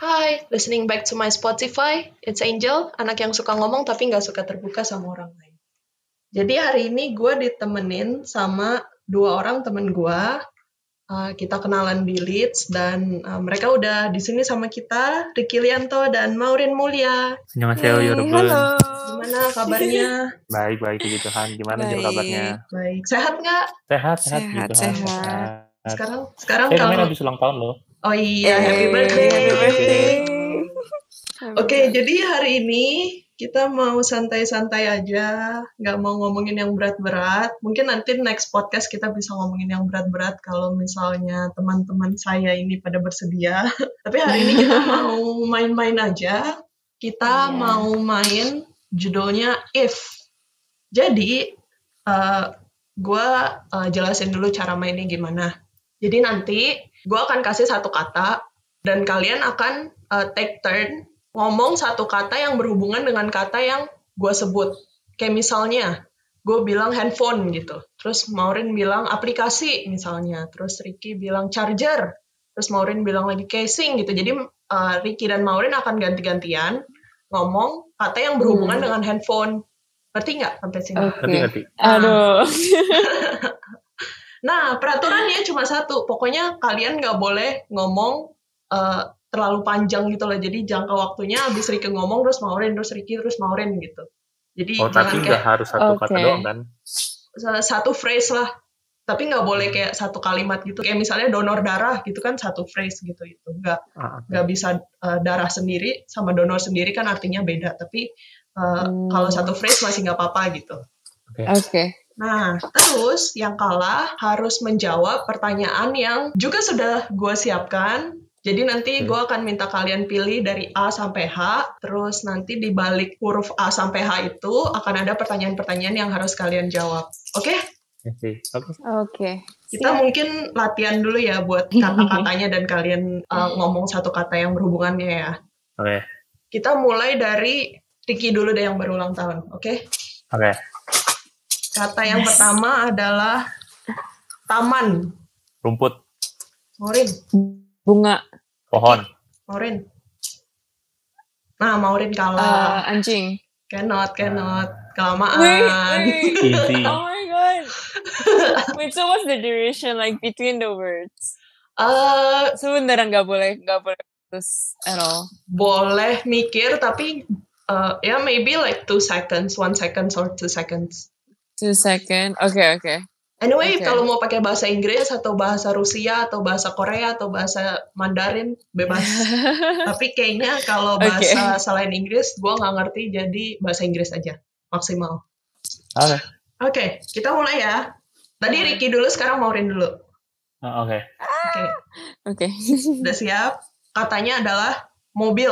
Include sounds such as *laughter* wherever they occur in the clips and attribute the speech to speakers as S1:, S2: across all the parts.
S1: Hi, listening back to my Spotify. It's Angel, anak yang suka ngomong tapi nggak suka terbuka sama orang lain. Jadi hari ini gue ditemenin sama dua orang temen gue. Uh, kita kenalan di Leeds dan uh, mereka udah di sini sama kita, Riki Lianto dan Maurin Mulia.
S2: Annyeonghaseyo, Yorobun.
S3: halo.
S1: Gimana
S3: *laughs*
S1: kabarnya?
S2: Baik, baik, puji Tuhan. Gimana Jo
S3: Baik.
S2: kabarnya?
S1: Baik, sehat nggak?
S2: Sehat, sehat, puji
S3: Sehat,
S2: Tuhan.
S3: sehat.
S1: Sekarang, sekarang
S2: Eh, kemarin
S1: kalau
S2: habis ulang tahun loh.
S1: oh iya, happy
S3: Eh,
S1: birthday.
S3: happy birthday. Happy
S1: Oke,
S3: birthday.
S1: jadi hari ini kita mau santai-santai aja, nggak mau ngomongin yang berat-berat. Mungkin nanti next podcast kita bisa ngomongin yang berat-berat kalau misalnya teman-teman saya ini pada bersedia. *laughs* Tapi hari ini kita mau main-main aja. Kita
S3: Iya.
S1: mau main judulnya If. Jadi, gue jelasin dulu cara mainnya gimana. Jadi nanti gue akan kasih satu kata dan kalian akan eh, take turn ngomong satu kata yang berhubungan dengan kata yang gue sebut. Kayak misalnya, gue bilang handphone gitu. Terus Maureen bilang aplikasi misalnya. Terus Ricky bilang charger. Terus Maureen bilang lagi casing gitu. Jadi eh, Ricky dan Maureen akan ganti-gantian ngomong kata yang berhubungan
S3: Hmm.
S1: dengan handphone. Ngerti nggak sampai sini?
S2: Ngerti,
S3: Oke.
S2: ngerti.
S3: Ah. Aduh.
S1: Nah, peraturannya cuma satu. Pokoknya kalian nggak boleh ngomong eh, terlalu panjang gitu loh. Jadi jangka waktunya habis Riki ngomong, terus Maurin, terus Riki, terus Maurin gitu. Jadi
S2: Oh,
S1: jangan
S2: tapi nggak
S1: kayak
S2: harus satu kata
S3: Oke.
S2: doang kan?
S1: sa- satu phrase lah. Tapi nggak boleh kayak satu kalimat gitu. Kayak misalnya donor darah gitu kan satu phrase gitu. itu Nggak,
S2: Ah, oke.
S1: nggak bisa eh, darah sendiri sama donor sendiri kan artinya beda. Tapi eh,
S3: Hmm.
S1: kalau satu phrase masih nggak apa-apa gitu.
S3: Oke.
S1: Nah, terus yang kalah harus menjawab pertanyaan yang juga sudah gue siapkan. Jadi nanti
S2: Hmm.
S1: gue akan minta kalian pilih dari A sampai H, terus nanti di balik huruf A sampai H itu akan ada pertanyaan-pertanyaan yang harus kalian jawab. Oke,
S2: Ya sih. Oke.
S3: Oke.
S1: kita mungkin latihan dulu ya buat kata-katanya dan kalian uh, ngomong satu kata yang berhubungannya ya.
S2: Oke.
S1: Kita mulai dari Ricky dulu deh yang berulang tahun, oke?
S2: Oke.
S1: Kata yang pertama adalah taman.
S2: Rumput,
S1: Morin.
S3: Bunga
S2: pohon,
S1: Maurin. Nah, Maurin
S3: eh,
S1: kalah.
S3: anjing.
S1: cannot, cannot.
S3: Wait,
S1: Kelamaan.
S3: wait.
S2: easy.
S3: Oh my god. Wait, so what's the duration like between the words?
S1: Eh,
S3: So beneran nggak boleh nggak boleh putus at all.
S1: boleh mikir, tapi eh, ya maybe like two seconds, one seconds or two seconds.
S3: Two second. Okay, okay.
S1: Anyway,
S3: Oke.
S1: kalau mau pakai bahasa Inggris atau bahasa Rusia atau bahasa Korea atau bahasa Mandarin
S3: *laughs*
S1: bebas. tapi kayaknya kalau
S3: Oke.
S1: bahasa selain Inggris, gua nggak ngerti, jadi bahasa Inggris aja maksimal.
S2: Oke.
S1: Oke, kita mulai ya. Tadi Ricky dulu, sekarang Maurin dulu. Oke.
S2: Ah, Oke.
S3: okay.
S1: Udah siap? Katanya adalah mobil.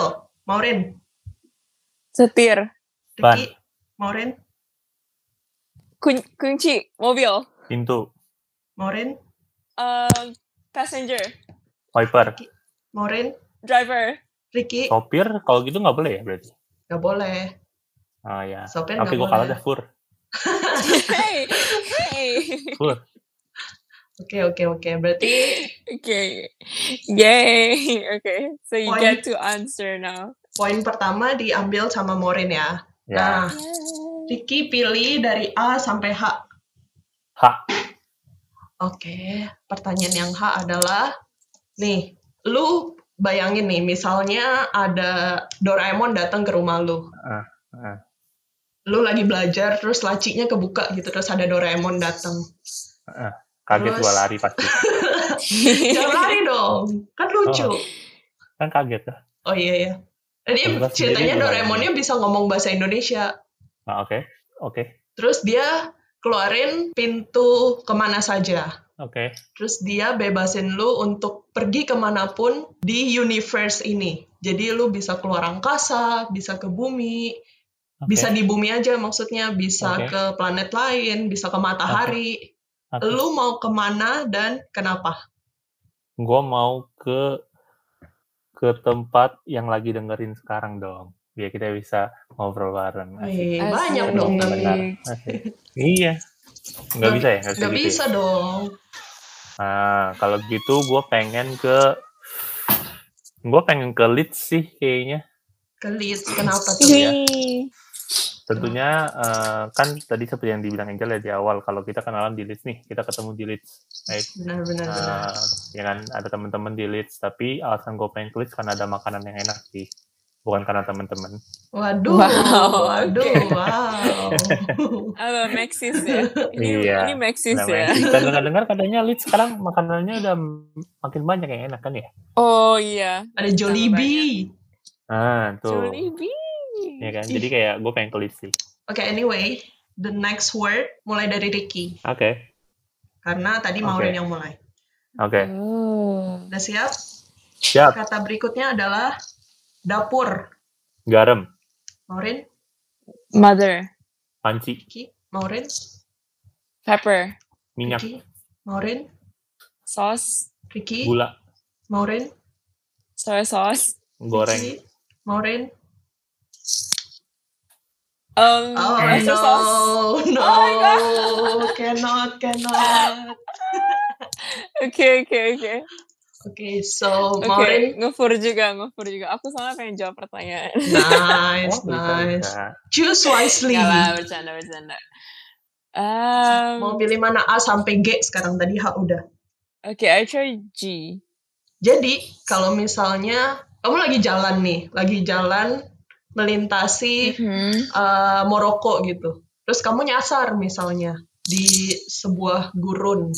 S1: Maurin.
S3: *laughs* Setir.
S2: Ban.
S1: Ricky. Maurin.
S3: Kun kunci mobil.
S2: Pintu,
S1: Maurin.
S3: Um, passenger.
S2: wiper,
S1: Maurin.
S3: Driver. *laughs*
S1: Ricky.
S2: sopir. Kalau gitu nggak boleh ya berarti?
S1: Gak boleh.
S2: Oh ya.
S1: Sopir
S2: Tapi
S1: gak
S2: gue kalah
S1: boleh.
S2: dah, Fur.
S3: hey, hey. *laughs*
S1: Oke, oke, oke. Berarti
S3: Okay. Yay. Okay. So you
S1: Point.
S3: get to answer now.
S1: poin pertama diambil sama Maurin ya. Nah,
S2: Ya.
S1: Ricky pilih dari A sampai H.
S2: Hak,
S1: Oke. Pertanyaan yang H adalah, nih, lu bayangin nih, misalnya ada Doraemon datang ke rumah lu.
S2: Ah, ah.
S1: Lu lagi belajar, terus lacinya kebuka gitu, terus ada Doraemon datang.
S2: kaget
S1: Terus.
S2: gue lari pasti.
S1: Jangan
S2: Iya.
S1: lari dong, kan lucu. Oh,
S2: Kan kaget lah.
S1: iya ya. Jadi
S2: Sebelah sendiri
S1: ceritanya
S2: juga.
S1: Doraemonnya bisa ngomong bahasa Indonesia.
S2: Ah, Oke. Oke.
S1: Terus dia keluarin pintu kemana saja.
S2: Oke.
S1: Terus dia bebasin lu untuk pergi kemanapun di universe ini. Jadi lu bisa keluar angkasa, bisa ke bumi,
S2: Oke.
S1: bisa di bumi aja maksudnya, bisa
S2: Oke.
S1: ke planet lain, bisa ke matahari.
S2: Oke.
S1: Lu mau kemana dan kenapa?
S2: gue mau ke ke tempat yang lagi dengerin sekarang dong biar kita bisa ngobrol bareng Asik.
S1: Wih, Eh,
S2: Iya.
S1: banyak dong
S3: Asik.
S1: tapi.
S2: Benar. Asik. iya nggak bisa ya
S1: Gak
S2: nggak bisa, gitu ya? Ah,
S1: bisa dong.
S2: Nah, kalau gitu gue pengen ke Gue pengen ke Leeds sih kayaknya.
S1: Ke Leeds, kenapa tuh?
S2: Iya.
S3: Wih.
S2: Tentunya eh, kan tadi seperti yang dibilang Angel ya di awal kalau kita kenalan di Leeds nih, kita ketemu di Leeds.
S1: Benar-benar. benar.
S2: Eh, ya kan ada teman-teman di Leeds, tapi alasan gue pengen ke Leeds karena ada makanan yang enak sih. Bukan karena teman-teman.
S1: Waduh,
S3: Wow,
S1: waduh,
S3: oke. *laughs*
S1: wow.
S3: Apa Maxis ya? Ini,
S2: Iya,
S3: ini Maxis
S2: Nah,
S3: ya?
S2: Kita dengar-dengar katanya Leeds sekarang makanannya udah makin banyak yang enak kan ya?
S3: Oh iya.
S1: Ada Jollibee.
S2: Ah, tuh.
S3: Jollibee.
S2: Ya kan? Jadi kayak gue pengen ke Leeds sih.
S1: Oke, anyway, the next word mulai dari Ricky
S2: Oke.
S1: karena tadi
S2: Oke.
S1: Maureen yang mulai.
S2: Oke.
S3: Oh.
S1: Udah siap?
S2: Siap.
S1: Kata berikutnya adalah dapur.
S2: Garam,
S1: Maureen,
S3: Mother.
S2: panci,
S1: Ricky, Maureen,
S3: Pepper.
S2: minyak,
S1: Ricky, Maureen,
S3: Sauce.
S1: Ricky,
S2: gula,
S1: Maureen,
S3: Soy sauce.
S2: goreng,
S1: Ricky, Maureen.
S3: Um,
S1: Oh
S3: oyster sauce.
S1: no, no,
S3: Oh
S1: *laughs* cannot, cannot.
S3: Okay, okay, okay.
S1: Oke, so
S3: Oke, *laughs*
S1: Maureen,
S3: ngefur juga, ngefur juga. Aku sama pengen jawab pertanyaan.
S1: nice,
S2: Wah, Oh, bisa,
S1: nice.
S2: bisa.
S1: Choose *laughs* wisely.
S3: Enggak lah, bercanda, bercanda. Um,
S1: Mau pilih mana A sampai G sekarang tadi H udah.
S3: okay, I try G.
S1: Jadi kalau misalnya kamu lagi jalan nih, lagi jalan melintasi
S3: Mhm.
S1: eh, Maroko gitu, terus kamu nyasar misalnya di sebuah gurun,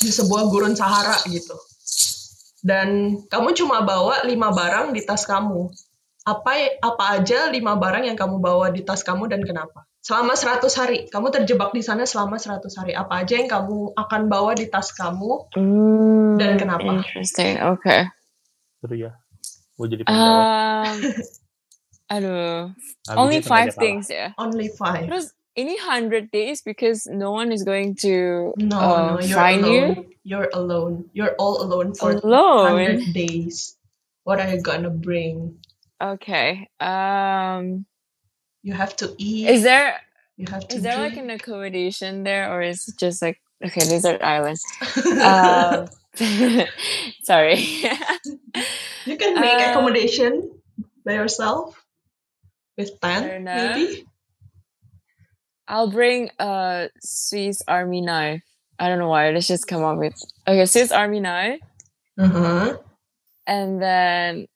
S1: di sebuah gurun Sahara gitu, dan kamu cuma bawa lima barang di tas kamu. Apa apa aja lima barang yang kamu bawa di tas kamu dan kenapa? Selama 100 hari, kamu terjebak di sana selama 100 hari. Apa aja yang kamu akan bawa di tas kamu?
S3: Mm,
S1: Dan kenapa?
S3: Interesting, okay.
S2: Seru ya. Gue jadi pengen
S1: *laughs*
S2: jawab.
S3: Um, aduh,
S2: Habis
S3: only
S2: itu sengaja
S3: five
S2: kalah.
S3: things ya.
S1: Only five.
S3: Terus ini 100 days because no one is going to
S1: No, no,
S3: uh,
S1: you're alone.
S3: find you
S1: You're alone. You're all alone for
S3: alone.
S1: 100 days. What are you gonna bring?
S3: Okay. Um,
S1: You have to eat.
S3: is there
S1: you have to
S3: Is there like
S1: drink.
S3: an accommodation there, or is it just like okay, these are islands?
S1: *laughs*
S3: *laughs* Um, sorry. *laughs*
S1: you can make
S3: uh,
S1: accommodation by yourself with
S3: Fair
S1: tent,
S3: enough.
S1: maybe.
S3: I'll bring a Swiss Army knife. I don't know why. Let's just come up with okay, Swiss Army knife,
S1: Uh huh.
S3: and then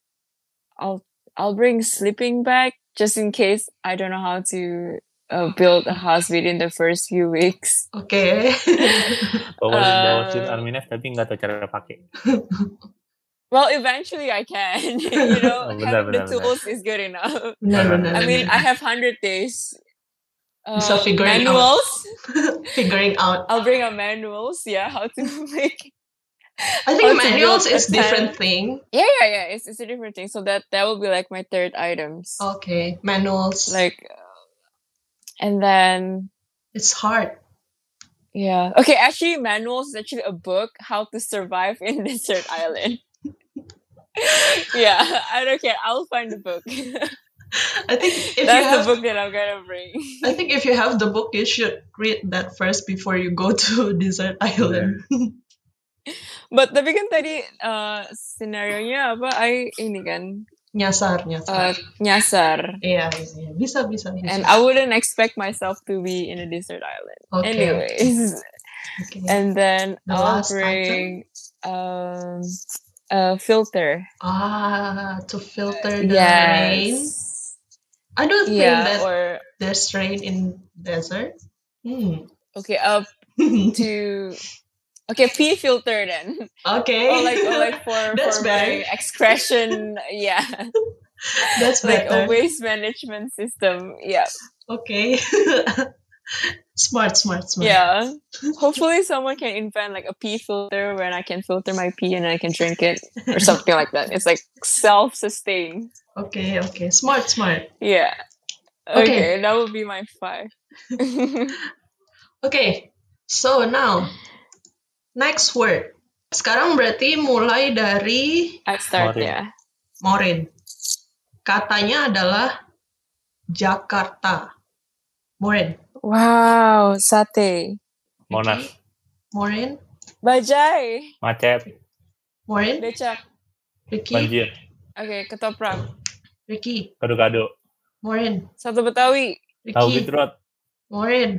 S3: I'll I'll bring sleeping bag just in case I don't know how to uh, build a house within the first few weeks.
S1: Okay. *laughs*
S2: Bawa bawa
S3: Eh.
S2: Swiss Army knife tapi nggak tahu cara pakai.
S3: Well, eventually I can. *laughs* you
S2: Oh,
S3: know,
S2: benar,
S3: having
S2: benar, benar.
S3: the tools is good enough.
S1: Benar, benar,
S3: I mean, I
S1: benar.
S3: have hundred days. Uh,
S1: So figuring out.
S3: manuals.
S1: *laughs* figuring out.
S3: I'll bring out manuals. Yeah, how to *laughs* make.
S1: I
S3: how
S1: think
S3: to build
S1: manuals
S3: a
S1: is different
S3: tent.
S1: thing.
S3: Yeah, yeah, yeah. It's, it's a different thing. So that that will be like my third items.
S1: Oh. Okay, manuals.
S3: Like, uh, and then
S1: it's hard. *laughs*
S3: yeah. Okay, actually, manuals is actually a book how to survive in *laughs* desert island. yeah, *laughs* I don't care. I'll find the book. *laughs*
S1: I think if you
S3: That's
S1: have
S3: the book that I'm gonna bring. *laughs*
S1: I think if you have the book, you should read that first before you go to *laughs* Desert Island.
S3: But tapi kan tadi uh, scenarionya apa? I ini kan
S1: nyasar,
S3: uh,
S1: nyasar.
S3: nyasar.
S1: Iya, iya, bisa, bisa, bisa.
S3: and I wouldn't expect myself to be in a desert island.
S1: Oke,
S3: Anyways,
S1: oke.
S3: and then
S1: The
S3: I'll
S1: last
S3: bring um a filter.
S1: Ah, to filter the rain.
S3: Yes.
S1: I don't think
S3: Yeah.
S1: that
S3: Or
S1: there's rain in desert. Hmm. *laughs*
S3: okay, up
S1: oke.
S3: to okay pee filter then. Or Oh, like or like for
S1: That's
S3: for
S1: better.
S3: my excretion. Yeah,
S1: *laughs* That's
S3: like oh, a
S1: better.
S3: waste management system. Yeah,
S1: Okay. *laughs* smart, smart, smart.
S3: yeah. Hopefully, someone can invent like a pee filter when I can filter my pee and I can drink it or
S1: *laughs*
S3: something like that. It's like self-sustained.
S1: Okay, okay. Smart, smart.
S3: Yeah.
S1: Okay.
S3: Okay, that would be my five. *laughs*
S1: Okay, so now next word. Sekarang berarti mulai dari
S3: I start
S2: Maureen.
S3: yeah.
S1: Morin. Katanya adalah Jakarta. Morin.
S3: Wow, sate.
S2: Monas,
S1: Morin.
S3: Bajai.
S2: macet,
S1: Morin.
S3: Becak.
S1: Ricky,
S2: Banjir,
S3: Oke, ketoprak.
S1: Ricky,
S2: kado-kado,
S1: Morin,
S3: Satu
S2: tahu gitu.
S3: Betawi.
S1: Ricky,
S2: beetroot,
S1: Morin,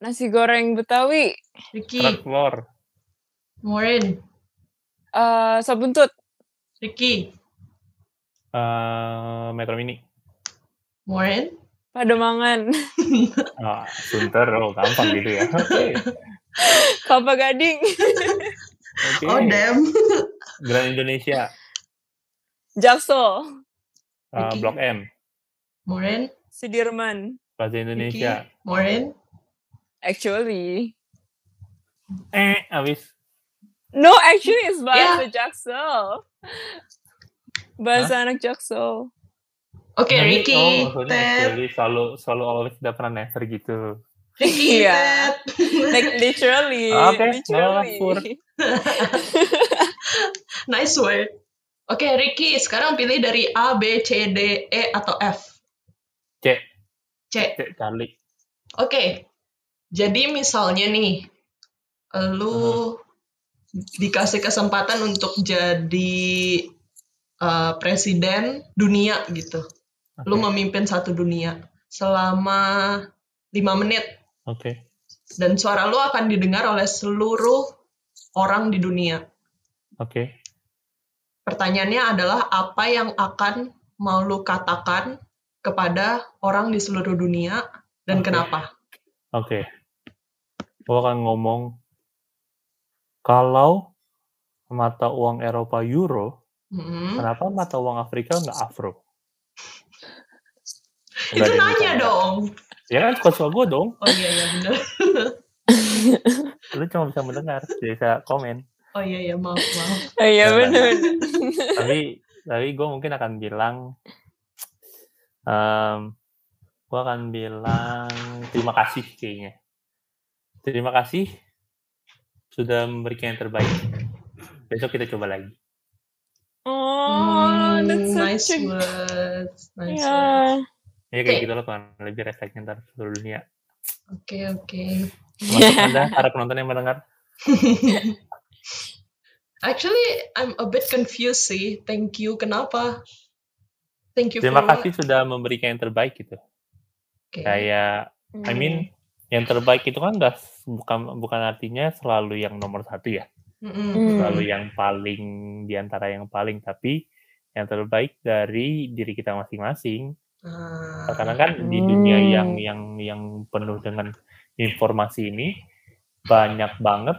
S3: Nasi goreng Betawi.
S2: kerak
S1: Ricky,
S2: telur,
S1: Morin,
S3: eh sop buntut.
S1: Ricky,
S2: eh, metro mini.
S1: Morin,
S3: Pademangan. *laughs*
S2: Ah, Sunter, oh gampang gitu ya. Oke,
S3: Kelapa Gading. *laughs*
S2: oke.
S1: oh damn,
S2: Grand Indonesia,
S3: Jaksel.
S2: eh,
S1: Oke.
S2: Blok M,
S1: Morin,
S3: Sudirman.
S2: Plaza Indonesia.
S1: Ricky, Morin,
S3: Actually.
S2: Eh, habis.
S3: No, actually it's bahasa Jaksel. Bahasa anak Jaksel.
S1: oke
S2: Nah, ini-
S1: Ricky,
S2: Oh, maksudnya
S1: Ted,
S2: actually selalu selalu always udah pernah never gitu.
S1: Ricky,
S3: Iya.
S1: Ted,
S3: Like literally.
S2: Oke, nggak
S3: literally.
S2: apa-apa, Pur.
S1: *laughs* nice word. Oke Ricky, sekarang pilih dari A, B, C, D, E atau F.
S2: C.
S1: C.
S2: Cek Charlie.
S1: Oke, jadi misalnya nih, lu dikasih kesempatan untuk jadi uh, presiden dunia gitu.
S2: Oke.
S1: Lu memimpin satu dunia selama lima menit
S2: Oke.
S1: dan suara lu akan didengar oleh seluruh orang di dunia.
S2: Oke.
S1: Pertanyaannya adalah apa yang akan mau lu katakan kepada orang di seluruh dunia dan
S2: Oke.
S1: kenapa?
S2: Oke. Gua akan ngomong kalau mata uang Eropa euro,
S1: Mm-mm.
S2: kenapa mata uang Afrika nggak afro?
S1: Itu
S2: Nggak ada yang
S1: nanya
S2: bercanda.
S1: dong.
S2: Ya kan konsol gue dong.
S1: Oh iya iya benar.
S2: Lu cuma bisa mendengar, tidak bisa komen.
S1: Oh iya iya maaf maaf.
S3: *laughs* Oh, iya
S2: Jangan.
S3: benar.
S2: tapi tapi gue mungkin akan bilang em gue akan bilang terima kasih kayaknya terima kasih sudah memberikan yang terbaik besok kita coba lagi
S3: *laughs* Oh,
S1: Hmm,
S3: that's so
S1: nice
S3: cute.
S1: words, nice words.
S3: Yeah.
S2: ya kayak
S1: Oke.
S2: gitu loh kan lebih refleksi ntar seluruh dunia
S1: Oke oke.
S2: Termasuk anda para penonton yang
S1: *laughs*
S2: mendengar
S1: Actually I'm a bit confused sih. Thank you. Kenapa? Thank you.
S2: terima
S1: for
S2: kasih Iya. sudah memberikan yang terbaik gitu
S1: what? Oke.
S2: kayak I mean yang terbaik itu kan udah s- bukan bukan artinya selalu yang nomor satu ya
S1: Mm-mm.
S3: Hmm.
S2: lalu yang paling diantara yang paling tapi yang terbaik dari diri kita masing-masing
S1: Ah,
S2: karena kan di dunia
S3: Hmm.
S2: yang yang yang penuh dengan informasi ini banyak banget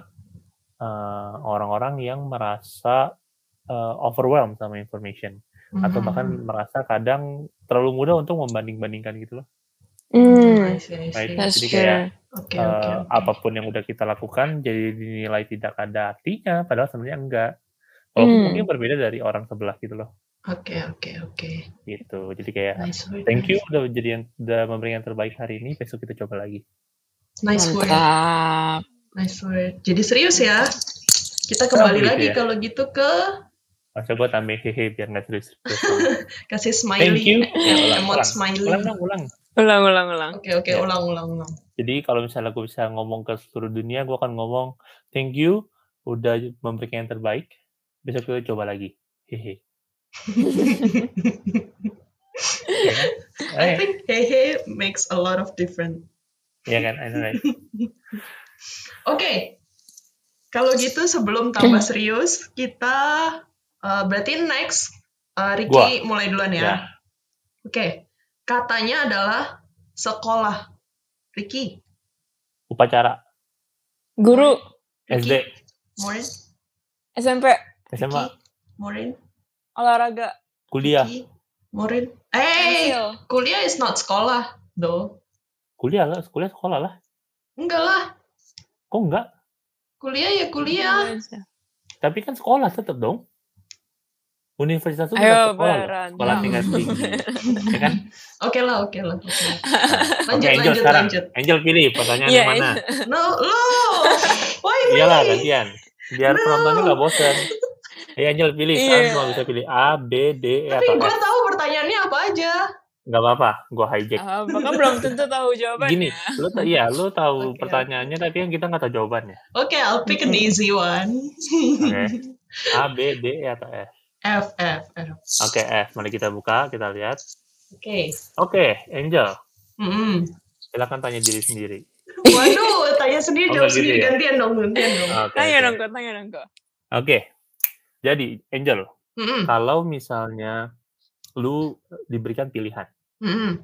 S2: eh, orang-orang yang merasa eh, overwhelmed sama information atau
S1: mhm.
S2: bahkan merasa kadang terlalu mudah untuk membanding-bandingkan gitu loh
S3: Mm,
S1: I see, I see.
S2: Right.
S3: that's
S2: Jadi
S3: true.
S2: kayak,
S1: Oke oke.
S2: Eh,
S1: oke.
S2: apapun yang udah kita lakukan jadi dinilai tidak ada artinya padahal sebenarnya enggak walaupun
S3: Hmm.
S2: mungkin berbeda dari orang sebelah gitu loh
S1: Oke oke oke.
S2: gitu jadi kayak
S1: Nice word.
S2: thank you udah jadi yang udah memberi yang terbaik hari ini besok kita coba lagi
S1: Nice word.
S3: Mantap.
S1: Nice word. Jadi serius ya. Kita kembali
S2: gitu
S1: lagi
S2: ya?
S1: kalau gitu ke
S2: masa gue tambah hehe biar nggak serius
S1: *laughs* kasih smiley.
S2: thank you ya, ulang,
S1: *laughs* Emot
S2: ulang.
S1: smiley.
S2: ulang dong, ulang
S3: Ulang, ulang, ulang.
S1: Oke oke
S2: Ya.
S1: ulang ulang
S2: *laughs*
S1: ulang.
S2: jadi kalau misalnya gue bisa ngomong ke seluruh dunia gue akan ngomong thank you udah memberikan yang terbaik besok kita coba lagi hehe ya kan?
S1: I
S2: Eh,
S1: think hehe makes a lot of difference.
S2: ya kan I know, right?
S1: Oke, kalau gitu
S2: *clears throat*
S1: sebelum tambah serius kita uh, berarti next uh, Ricky mulai duluan ya.
S2: Ya.
S1: Oke, katanya adalah sekolah. Ricky,
S2: upacara
S3: Guru
S2: SD
S1: Morin,
S3: SMP
S1: Ricky,
S2: SMA
S1: Morin,
S3: olahraga
S2: kuliah
S1: Ricky, Morin. Eh,
S3: pensil.
S1: kuliah is not sekolah, do.
S2: kuliah lah kuliah sekolah lah
S1: Enggak lah,
S2: kok enggak
S1: kuliah ya
S3: Iya,
S1: kuliah.
S2: tapi kan sekolah tetap dong universitas itu tetap sekolah
S3: Ayo,
S2: loh.
S3: berantem.
S2: sekolah tingkat tinggi ya kan
S1: Oke lah, oke lah. oke lah.
S2: Nah,
S1: Lanjut,
S2: oke, Angel
S1: lanjut,
S2: sekarang
S1: lanjut.
S2: Angel pilih pertanyaan
S3: Iya,
S2: yang mana
S1: No, lo. Why me?
S2: iyalah ya, gantian biar
S1: No.
S2: penontonnya nggak
S1: *laughs*
S2: bosan Ayo Angel pilih sekarang
S3: Iya.
S2: cuma bisa pilih A B D E
S1: Tapi
S2: atau
S1: gue
S2: F
S1: tahu pertanyaannya apa aja.
S2: nggak apa-apa gua hijack
S3: Ah, bahkan belum tentu tahu jawabannya.
S2: gini lu ta- iya lu tahu
S1: Oke.
S2: pertanyaannya tapi kan kita nggak tahu jawabannya *laughs*
S1: *laughs* Oke, I'll pick an easy one.
S2: oke A B D E atau F
S1: F. F F F.
S2: Oke, F. Mari kita buka, kita lihat.
S1: Oke.
S2: Oke, Angel.
S1: Mm-mm.
S2: Silakan tanya diri sendiri.
S1: Waduh, tanya sendiri
S2: *laughs* Oh,
S1: jawab
S2: nggak gitu
S1: sendiri
S2: ya? Ah.
S1: gantian dong, gantian dong.
S2: Oke.
S3: Tanya
S2: oke.
S3: dong kok, tanya dong kok.
S2: Oke. Jadi, Angel,
S1: Mm-mm.
S2: kalau misalnya lu diberikan pilihan,
S1: Mm-mm.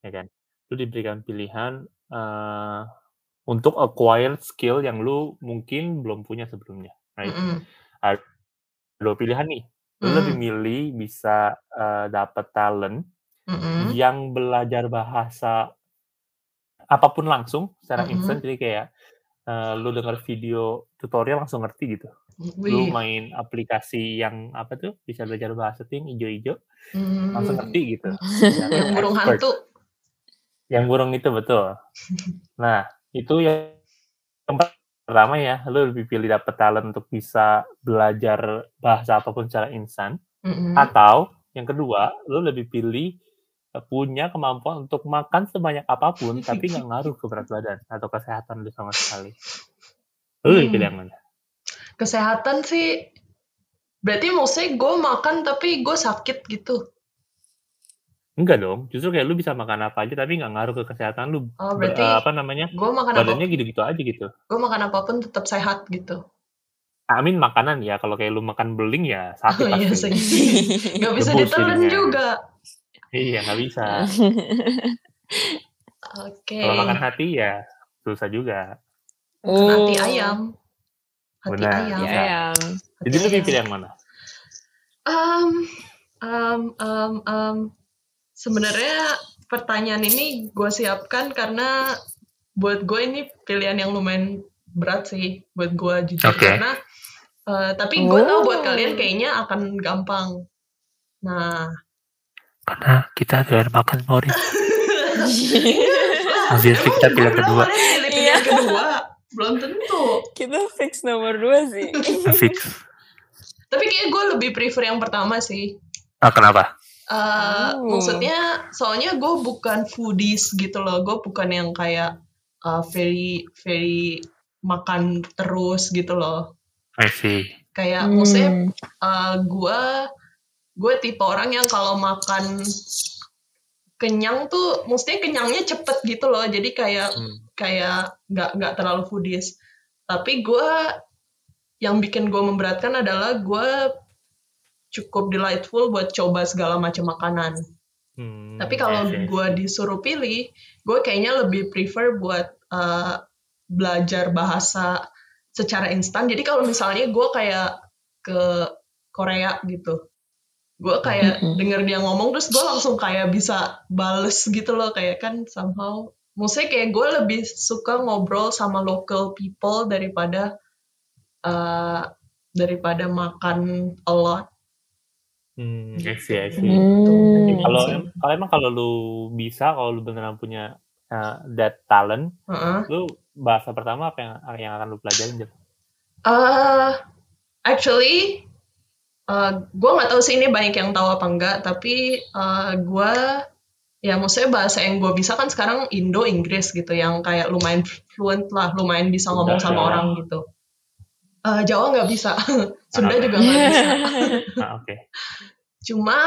S2: ya kan? Lu diberikan pilihan eh, untuk acquire skill yang lu mungkin belum punya sebelumnya. Right?
S1: Mm-mm.
S2: Dua pilihan nih. Lu
S1: Mm-mm.
S2: lebih milih bisa eh, dapet talent
S1: Mm-mm.
S2: yang belajar bahasa apapun langsung secara
S1: Mhm.
S2: instan jadi kayak eh, lu denger video tutorial langsung ngerti gitu.
S1: Wih.
S2: Lu main aplikasi yang apa tuh bisa belajar bahasa tuh yang ijo-ijo
S1: Mm.
S2: langsung ngerti gitu.
S1: *laughs* Yang
S2: Yang
S1: burung hantu.
S2: Yang burung itu
S1: *laughs*
S2: betul. Nah, itu yang yang pertama ya, lu lebih pilih dapet talent untuk bisa belajar bahasa apapun secara instan
S1: Mm-mm.
S2: atau yang kedua, lu lebih pilih eh, punya kemampuan untuk makan sebanyak apapun tapi
S1: *laughs*
S2: nggak ngaruh ke berat badan atau kesehatan lu sama sekali. Lu lebih
S1: Hmm.
S2: pilih yang mana?
S1: Kesehatan sih. Berarti maksudnya gue makan tapi gue sakit gitu.
S2: Enggak dong, justru kayak lu bisa makan apa aja tapi nggak ngaruh ke kesehatan lu.
S1: Oh,
S2: Ber-
S1: berarti
S2: eh, apa namanya?
S1: Gue makan apa?
S2: Badannya gitu-gitu aja gitu.
S1: Gue makan apapun tetap sehat gitu.
S2: Amin makanan ya, kalau kayak lu makan beling ya sakit
S1: Oh, *laughs* iya
S2: pasti.
S1: sih.
S2: *laughs*
S1: Gak bisa
S2: Debus
S1: ditelan
S2: jadinya.
S1: juga.
S2: Iya, nggak bisa.
S1: Oke.
S2: Kalau makan hati ya susah juga.
S1: Makan
S3: Oh.
S1: Hati
S2: Iya.
S1: ayam. Hati
S2: Benar.
S1: ayam.
S3: Ya,
S2: Iya.
S3: ayam.
S1: Hati
S2: Jadi lu lebih
S1: ayam.
S2: pilih yang mana?
S1: Um, um, um, um. Sebenarnya pertanyaan ini gue siapkan karena buat gue ini pilihan yang lumayan berat sih buat gue jujur
S2: Oke.
S1: karena eh, tapi gue tau buat
S3: Oh.
S1: kalian kayaknya akan gampang. Nah,
S2: Karena kita doyan makan Boris.
S1: emang
S2: kita
S1: gua bilang kalian pilih
S3: Iya.
S1: pilihan kedua belum tentu.
S3: Kita fix nomor dua sih.
S1: Iya,
S2: Fix.
S1: Tapi kayaknya gue lebih prefer yang pertama sih.
S2: Ah, kenapa?
S1: Eh,
S3: Oh.
S1: Maksudnya, soalnya gue bukan foodies gitu loh. Gue bukan yang kayak eh, very very makan terus gitu loh.
S2: I see.
S1: Kayak
S3: Hmm.
S1: maksudnya gue gue tipe orang yang kalau makan kenyang tuh, maksudnya kenyangnya cepet gitu loh. Jadi kayak kayak nggak nggak terlalu foodies. Tapi gue yang bikin gue memberatkan adalah gue cukup delightful buat coba segala macam makanan.
S2: Hmm,
S1: Tapi kalau
S2: I see.
S1: gue disuruh pilih, gue kayaknya lebih prefer buat eh, belajar bahasa secara instan. Jadi kalau misalnya gue kayak ke Korea gitu, gue kayak
S3: Mhm.
S1: denger dia ngomong terus gue langsung kayak bisa bales gitu loh kayak kan somehow. Maksudnya kayak gue lebih suka ngobrol sama local people daripada eh, daripada makan a lot. gitu.
S2: Hmm, I see, I see.
S3: Hmm.
S2: Kalau
S1: Sih.
S2: em- kalau emang kalau lu bisa, kalau lu beneran punya uh, that talent,
S1: Heeh.
S2: lu bahasa pertama apa yang yang akan lu pelajarin? Jel?
S1: Eh, actually, gue nggak tahu sih ini banyak yang tahu apa enggak, tapi gue ya maksudnya bahasa yang gue bisa kan sekarang Indo Inggris gitu, yang kayak lumayan fluent lah, lumayan bisa ngomong
S2: Udah,
S1: sama
S2: Jawa.
S1: orang gitu. Eh, Jawa nggak bisa, *laughs* Sunda
S2: Kenapa?
S1: juga nggak bisa.
S2: Ah, oke.
S1: Cuma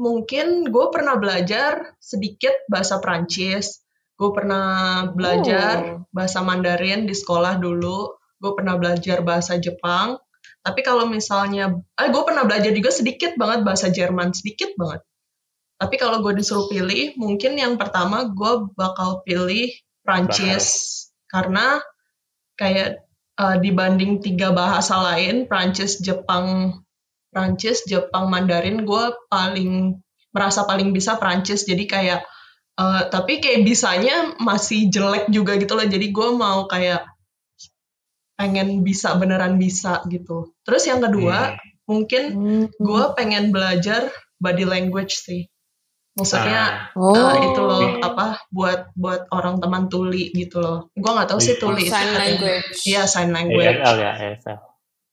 S1: mungkin gue pernah belajar sedikit bahasa Prancis, gue pernah belajar bahasa Mandarin di sekolah dulu. Gue pernah belajar bahasa Jepang. Tapi kalau misalnya, eh gue pernah belajar juga sedikit banget bahasa Jerman, sedikit banget. Tapi kalau gue disuruh pilih, mungkin yang pertama gue bakal pilih Prancis karena kayak eh, dibanding tiga bahasa lain, Prancis, Jepang, Prancis, Jepang, Mandarin, gue paling merasa paling bisa Prancis. Jadi kayak Eh, tapi kayak bisanya masih jelek juga gitu loh. Jadi gue mau kayak pengen bisa beneran bisa gitu. Terus yang kedua
S2: Hmm.
S1: mungkin gue pengen belajar body language sih.
S2: Ah,
S1: Maksudnya
S3: oh.
S1: eh, itu loh
S2: Iya.
S1: apa buat buat orang teman tuli gitu loh. Gue nggak tahu sih
S2: Iya.
S1: tuli. itu
S3: Sign
S1: katanya.
S3: language.
S1: Iya sign
S2: Ah,
S1: language.
S2: ASL ya, ASL.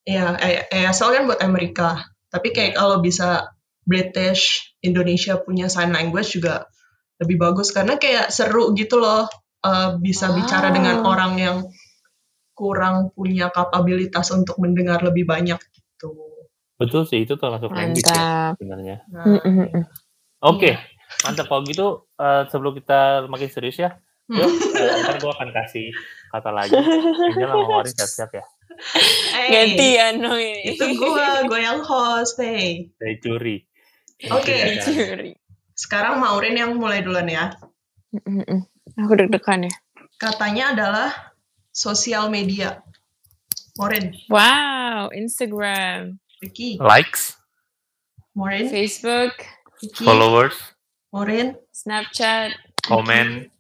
S1: Iya, eh, eh, asal kan buat Amerika. Tapi kayak
S2: Iya.
S1: kalau bisa British, Indonesia punya sign language juga lebih bagus karena kayak seru gitu loh. eh, bisa bicara
S3: Ah.
S1: dengan orang yang kurang punya kapabilitas untuk mendengar lebih banyak gitu.
S2: Betul sih itu termasuk language ya
S3: Mantap.
S2: sebenarnya.
S1: Nah,
S3: Mm-mm-mm.
S1: Iya.
S2: Oke, mantap kalau gitu eh, sebelum kita makin serius ya.
S1: Hmm.
S2: Yuk, eh, ntar gue akan kasih kata lagi. Angel sama Warin siap-siap ya.
S1: hey,
S3: Gantian dong ya,
S1: *laughs*
S3: ini. *laughs*
S2: Iya,
S1: Itu gue, gue yang host. Hey.
S2: Saya curi.
S1: Oke.
S2: Oke.
S3: Dicuri.
S1: Sekarang Maurin yang mulai duluan ya.
S3: Mm-mm-mm. Aku deg-degan ya.
S1: Katanya adalah sosial media. Maurin,
S3: Wow, Instagram,
S1: Vicky.
S2: Likes,
S1: Maurin,
S3: Facebook,
S1: Vicky.
S2: followers,
S1: Maurin,
S3: Snapchat,
S2: comment.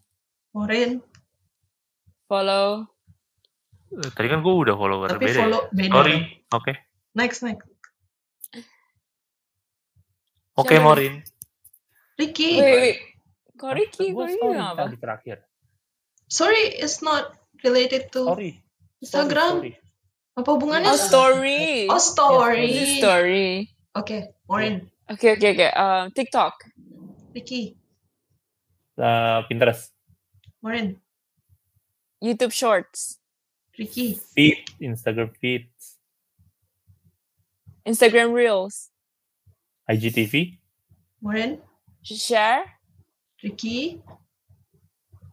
S1: Maurin.
S3: follow.
S2: Eh, Tadi kan gue udah follower.
S1: Tapi
S2: beda ya?
S1: follow beda.
S2: Sorry. Oke.
S1: Next, next.
S2: Oke,
S3: Jangan.
S2: Morin.
S3: Wait,
S1: Ricky,
S3: wait. wait. Kok Ricky,
S2: Gue
S3: kok Ricky
S2: story
S3: apa?
S2: tadi terakhir.
S1: sorry, it's not related to
S2: Sorry.
S1: Oh, Instagram.
S2: Sorry,
S1: Apa hubungannya?
S3: Oh, story.
S1: Oh, story.
S3: This is
S1: Oke,
S3: story.
S1: Maurin,
S3: Oke, oke, oke. Um, TikTok,
S1: Ricky,
S2: sorry. Eh, Pinterest.
S1: Maurin,
S3: YouTube Shorts,
S1: Ricky,
S2: Feed. Instagram feed.
S3: Instagram Reels,
S2: IGTV.
S1: Maurin,
S3: share,
S1: Ricky,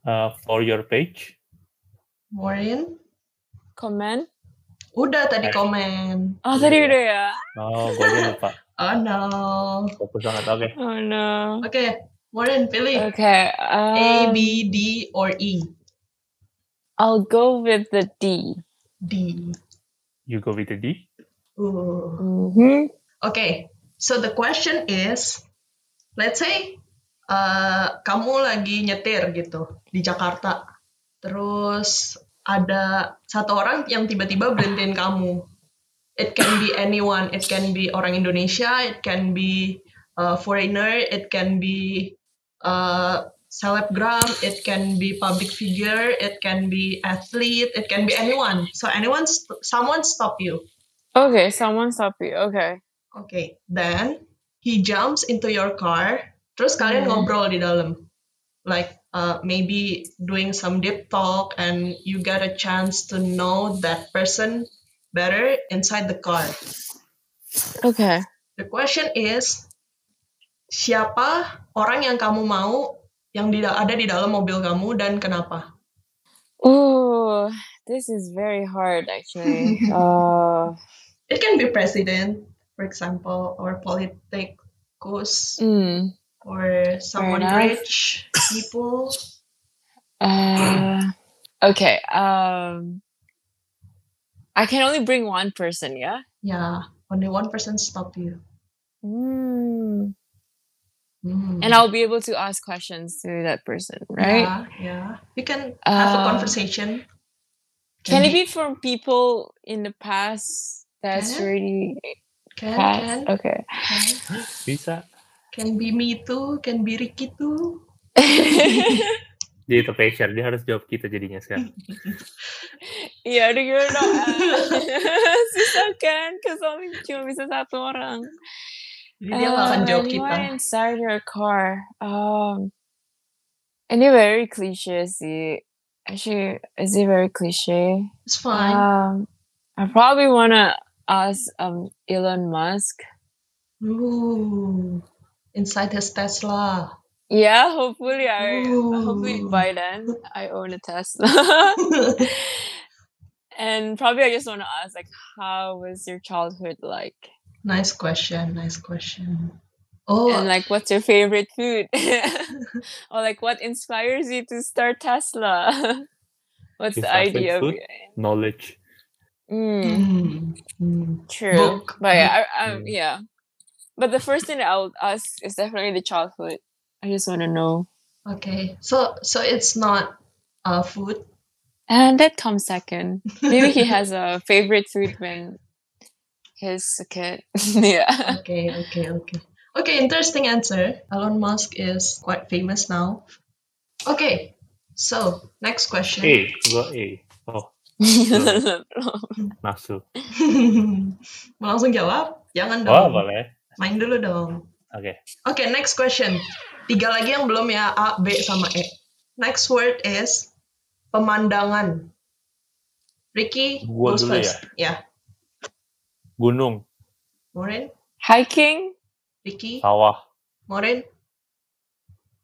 S2: eh, for your page.
S1: Maurin.
S3: comment.
S1: Udah tadi
S2: Next.
S1: komen.
S3: Oh, tadi udah ya.
S2: Oh, gue aja lupa.
S1: Oh no.
S2: Fokus banget. Oke.
S3: Oh no.
S1: Oke, Maurin pilih
S3: Okay.
S1: A,
S3: Um,
S1: B, D, or E.
S3: I'll go with the D.
S1: D.
S2: You go with the D.
S1: Ooh.
S3: Mm-hmm.
S1: Okay, so the question is, let's say uh, kamu lagi nyetir gitu di Jakarta, terus ada satu orang yang tiba-tiba berhentiin kamu. It can be anyone, it can be orang Indonesia, it can be uh, foreigner, it can be uh, celebgram, it can be public figure, it can be athlete, it can be anyone. So anyone, st- someone stop you.
S3: Okay, someone stop you. Okay.
S1: Okay, then he jumps into your car. Terus kalian
S3: Hmm.
S1: ngobrol di dalam, like uh, maybe doing some deep talk, and you get a chance to know that person better inside the car.
S3: Okay.
S1: The question is, siapa orang yang kamu mau yang di, ada di dalam mobil kamu dan kenapa?
S3: Ooh, this is very hard *laughs* actually. uh,
S1: It can be president, for example, or politikus,
S3: mm,
S1: or someone
S3: enough.
S1: rich people.
S3: uh, okay. Um, I can only bring one person. Yeah.
S1: Yeah, only one person stop you.
S3: Mm.
S1: Hmm.
S3: And I'll be able to ask questions to that person, right?
S1: Yeah, yeah. You can have a
S3: Uh,
S1: conversation.
S3: Can it be from people in the past that's
S1: Can.
S3: already
S1: Can,
S3: past?
S1: can, *laughs*
S3: Okay. *laughs*
S1: can.
S2: Bisa.
S1: Can be me too. Can be Ricky too.
S2: Dia itu pressure. Dia harus jawab kita jadinya sekarang.
S3: Iya, udah gimana dong?
S1: *laughs*
S3: Ah, Susah kan? Kesel cuma bisa satu orang.
S1: Jadi dia nggak akan
S3: Uh,
S1: jawab
S3: anyone
S1: kita.
S3: inside your car? Um, ini very cliche sih. Actually, is it very cliche?
S1: It's fine.
S3: Um, I probably wanna ask um Elon Musk.
S1: Ooh, inside his Tesla. *laughs*
S3: Yeah, hopefully I hopefully
S1: Ooh.
S3: by then I own a Tesla. *laughs* and probably I just want to ask like how was your childhood like?
S1: nice question. Nice question. Oh,
S3: And like what's your favorite food? *laughs* or like what inspires you to start Tesla? *laughs* what's
S2: Your
S3: the
S2: favorite
S3: idea of
S2: food?
S3: it?
S2: Knowledge.
S3: Mm,
S1: hmm, hmm.
S3: true.
S1: Book.
S3: But yeah, I, I,
S2: Mm.
S3: yeah. But the first thing that I would ask is definitely the childhood. I just want to know.
S1: okay. So, so it's not uh, food.
S3: And that comes second. Maybe he has a favorite food when he's a kid.
S1: *laughs*
S3: *laughs* yeah.
S1: Okay, okay, okay. Okay, interesting answer. Elon Musk is quite famous now. Okay, so next
S2: A.
S3: Iya.
S1: question.
S2: Hey, gue A. Eh, Oh, nafsu.
S1: *laughs* Mau langsung jawab?
S3: Iya.
S1: Jangan dong.
S2: Oh, boleh.
S1: Main dulu dong.
S2: Oke.
S1: Oke, next question. Tiga lagi yang belum ya, A, B, sama E. Next word is pemandangan. Ricky,
S2: Gua
S1: goes
S2: dulu
S1: first. Ya.
S2: Gunung.
S1: Morin,
S3: hiking,
S1: Ricky,
S2: sawah,
S1: Morin,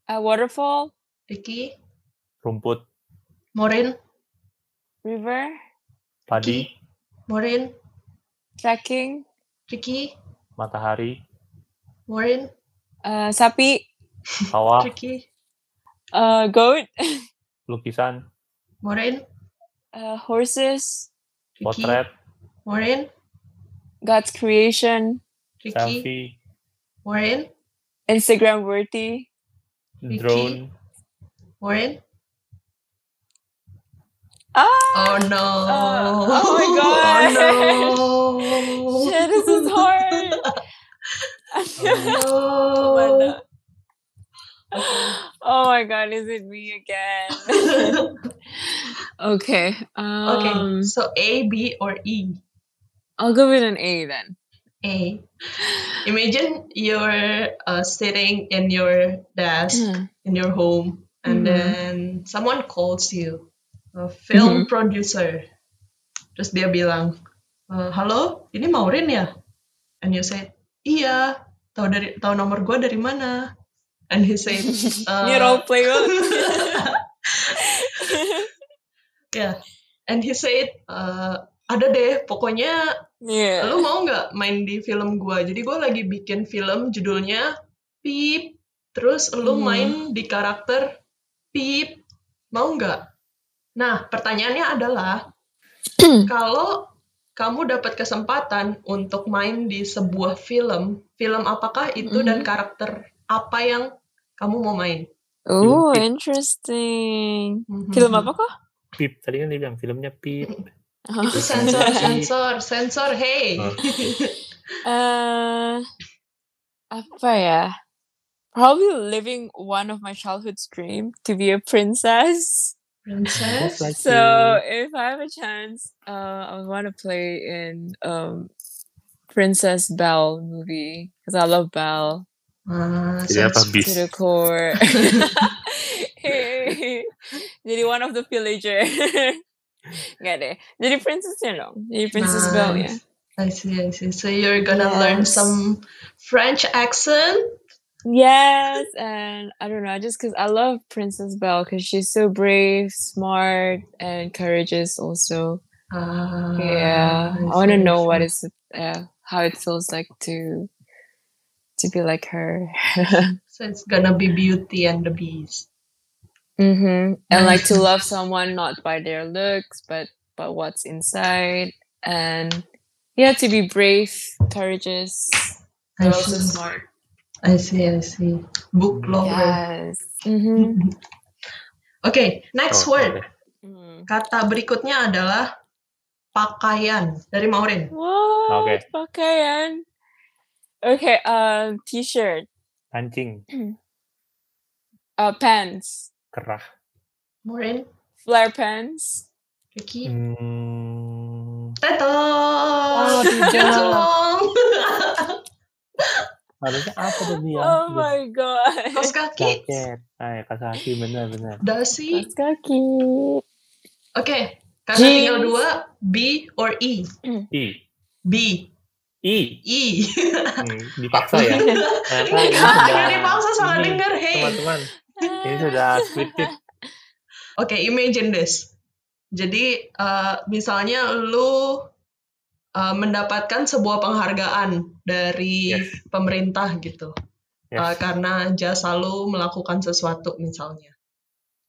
S3: a waterfall,
S1: Ricky,
S2: rumput,
S1: Morin,
S3: river,
S2: padi,
S1: Morin,
S3: trekking,
S1: Ricky,
S2: matahari,
S1: Morin,
S3: uh, sapi,
S2: sawah,
S1: Ricky,
S3: uh, goat,
S2: lukisan,
S1: Morin,
S3: uh, horses,
S1: Ricky,
S2: potret,
S1: Morin,
S3: God's creation,
S1: Ricky,
S2: selfie,
S1: Morin,
S3: Instagram worthy,
S1: Ricky.
S2: drone,
S1: Morin.
S3: ah,
S1: Oh no!
S3: Uh, oh
S1: *laughs*
S3: my gosh.
S1: Oh no!
S3: *laughs* shit, this
S1: *laughs*
S3: is hard. *laughs*
S1: No.
S3: oh my god, is it me
S1: *laughs*
S3: again? okay. Um,
S1: *laughs* okay, so A, B, or E.
S3: I'll go with an A then.
S1: A. Imagine you're uh, sitting in your desk in your home, and
S3: Mhm.
S1: then someone calls you, a film producer. Terus dia bilang, "Eh, halo, ini Maureen ya? And you said, iya. Tahu dari tahu nomor gue dari mana? And he
S3: *laughs*
S1: said, "Eh,
S3: you don't play
S1: *laughs* Yeah. And he said, "Eh, ada deh, pokoknya
S3: yeah.
S1: lu mau nggak main di film gua jadi gua lagi bikin film judulnya Pip terus lu
S3: Hmm.
S1: main di karakter Pip mau nggak nah pertanyaannya adalah
S3: Hmm.
S1: kalau kamu dapat kesempatan untuk main di sebuah film film apakah itu dan
S3: Mhm.
S1: karakter apa yang kamu mau main Mhm.
S3: Oh,
S2: Pip.
S3: interesting.
S1: Hmm.
S3: Film apa kok?
S2: pip. Tadi kan dia bilang filmnya pip.
S1: Itu
S3: *laughs*
S1: sensor sensor sensor hey
S2: Hah?
S3: Uh, apa ya? Probably living one of my childhood's dream to be a princess.
S1: *laughs* princess
S2: Looks like
S3: So if I have a chance, uh, I would want to play in um, Princess Belle movie because I love Belle
S1: Ah,
S2: Jadi apa
S1: sensor.
S2: bis?
S3: to the *laughs* core. Jadi one of the villager. *laughs* Gak deh. Jadi princessnya dong. Jadi Princess Belle ya.
S1: I see, I see. So you're gonna
S3: Yes.
S1: learn some French accent.
S3: Yes, and I don't know, just because I love Princess Belle because she's so brave, smart, and courageous. Also,
S1: Ah,
S3: yeah, I
S1: see,
S3: want to know
S1: see.
S3: what it's uh, how it feels like to to be like her,
S1: So it's gonna be Beauty and the Beast.
S3: mm-hmm. and like to love someone not by their looks, but but what's inside, and yeah, to be brave, courageous,
S1: I
S3: but also
S1: see.
S3: smart.
S1: I
S3: Mm.
S1: see, I see. Book lover.
S3: Yes. Mm-hmm.
S1: *laughs* Okay, next
S2: Oh,
S1: word.
S2: oke.
S1: Kata berikutnya adalah pakaian dari Maureen.
S3: What?
S2: Okay.
S3: Pakaian. Okay, um, t-shirt,
S2: Anjing,
S3: uh, pants,
S2: kerah.
S1: Maureen,
S3: flare pants. Iya.
S1: Ricky,
S2: Hmm,
S1: Teto.
S3: Oh, tidak.
S2: harusnya apa tadi ya?
S3: Oh my
S1: *laughs*
S3: god.
S1: Kaos kaki.
S2: Jaket. Ah, ya, kaki benar-benar.
S1: Dasi.
S3: Kaos kaki.
S1: Oke, karena
S3: Jeans.
S1: tinggal dua, B or E.
S2: I.
S1: B, E.
S2: I.
S1: I.
S2: Hmm, dipaksa
S1: *laughs*
S3: *laughs*
S2: ya. Iya. Ternyata ini
S1: Akhirnya
S2: sudah-
S1: dipaksa salah
S2: ini,
S1: denger, hey.
S2: Teman-teman, ini sudah scripted.
S1: *laughs* Oke, imagine this. Jadi, eh, misalnya lu eh, mendapatkan sebuah penghargaan dari
S2: Yes.
S1: pemerintah gitu.
S2: Yes.
S1: Eh, karena jasa lu melakukan sesuatu misalnya.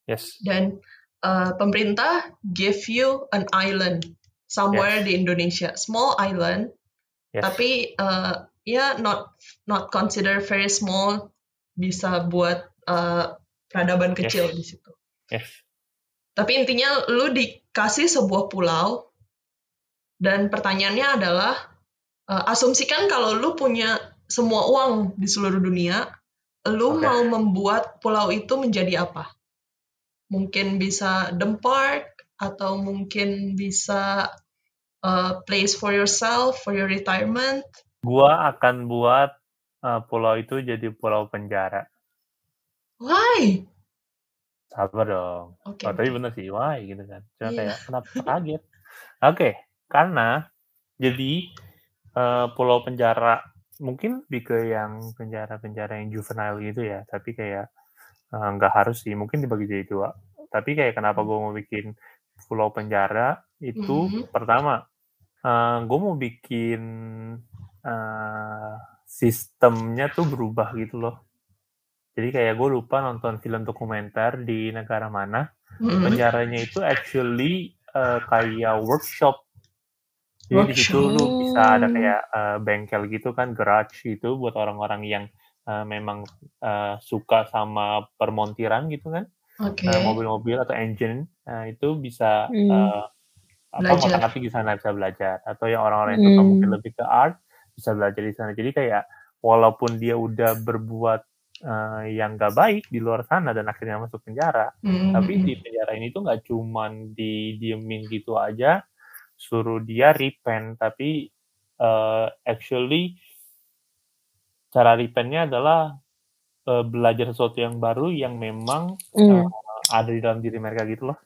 S2: yes.
S1: Dan eh, pemerintah give you an island somewhere
S2: Yes.
S1: di Indonesia. Small island,
S2: Yes.
S1: tapi eh, ya not not consider very small bisa buat eh, peradaban kecil di situ.
S2: Yes.
S1: Tapi intinya lu dikasih sebuah pulau dan pertanyaannya adalah eh, asumsikan kalau lu punya semua uang di seluruh dunia, lu
S2: Oke.
S1: mau membuat pulau itu menjadi apa? Mungkin bisa dam park atau mungkin bisa eh, place for yourself, for your retirement.
S2: Gua akan buat eh, pulau itu jadi pulau penjara.
S1: Why?
S2: Sabar dong.
S1: Oke.
S2: Oh, tapi bener sih, why gitu kan. Cuma
S1: Iya.
S2: kayak, kenapa kaget? Oke, karena jadi eh, pulau penjara mungkin lebih ke yang penjara-penjara yang juvenile gitu ya tapi kayak eh, nggak harus sih mungkin dibagi jadi dua tapi kayak
S1: Hmm.
S2: kenapa gue mau bikin pulau penjara itu
S1: Mhm.
S2: pertama gue mau bikin eh, sistemnya tuh berubah gitu loh jadi kayak gue lupa nonton film dokumenter di negara mana
S1: Mm-mm.
S3: Hmm.
S2: penjaranya itu actually eh, kayak workshop. Jadi di situ lu bisa ada kayak eh, bengkel gitu kan, garage gitu buat orang-orang yang eh, memang eh, suka sama permontiran gitu kan,
S1: Oke.
S2: Eh, mobil-mobil atau engine eh, itu bisa
S3: Iya. Hmm.
S2: eh, apa
S1: Belajar.
S2: ngotak di sana bisa belajar atau yang orang-orang yang suka
S3: Hmm.
S2: mungkin lebih ke art bisa belajar di sana. Jadi kayak walaupun dia udah berbuat eh, yang gak baik di luar sana dan akhirnya masuk penjara,
S1: Mm-mm.
S2: tapi di penjara ini tuh nggak cuman didiemin gitu aja suruh dia repent tapi eh, actually cara repentnya adalah eh, belajar sesuatu yang baru yang memang eh,
S3: Mm.
S2: ada di dalam diri mereka gitu loh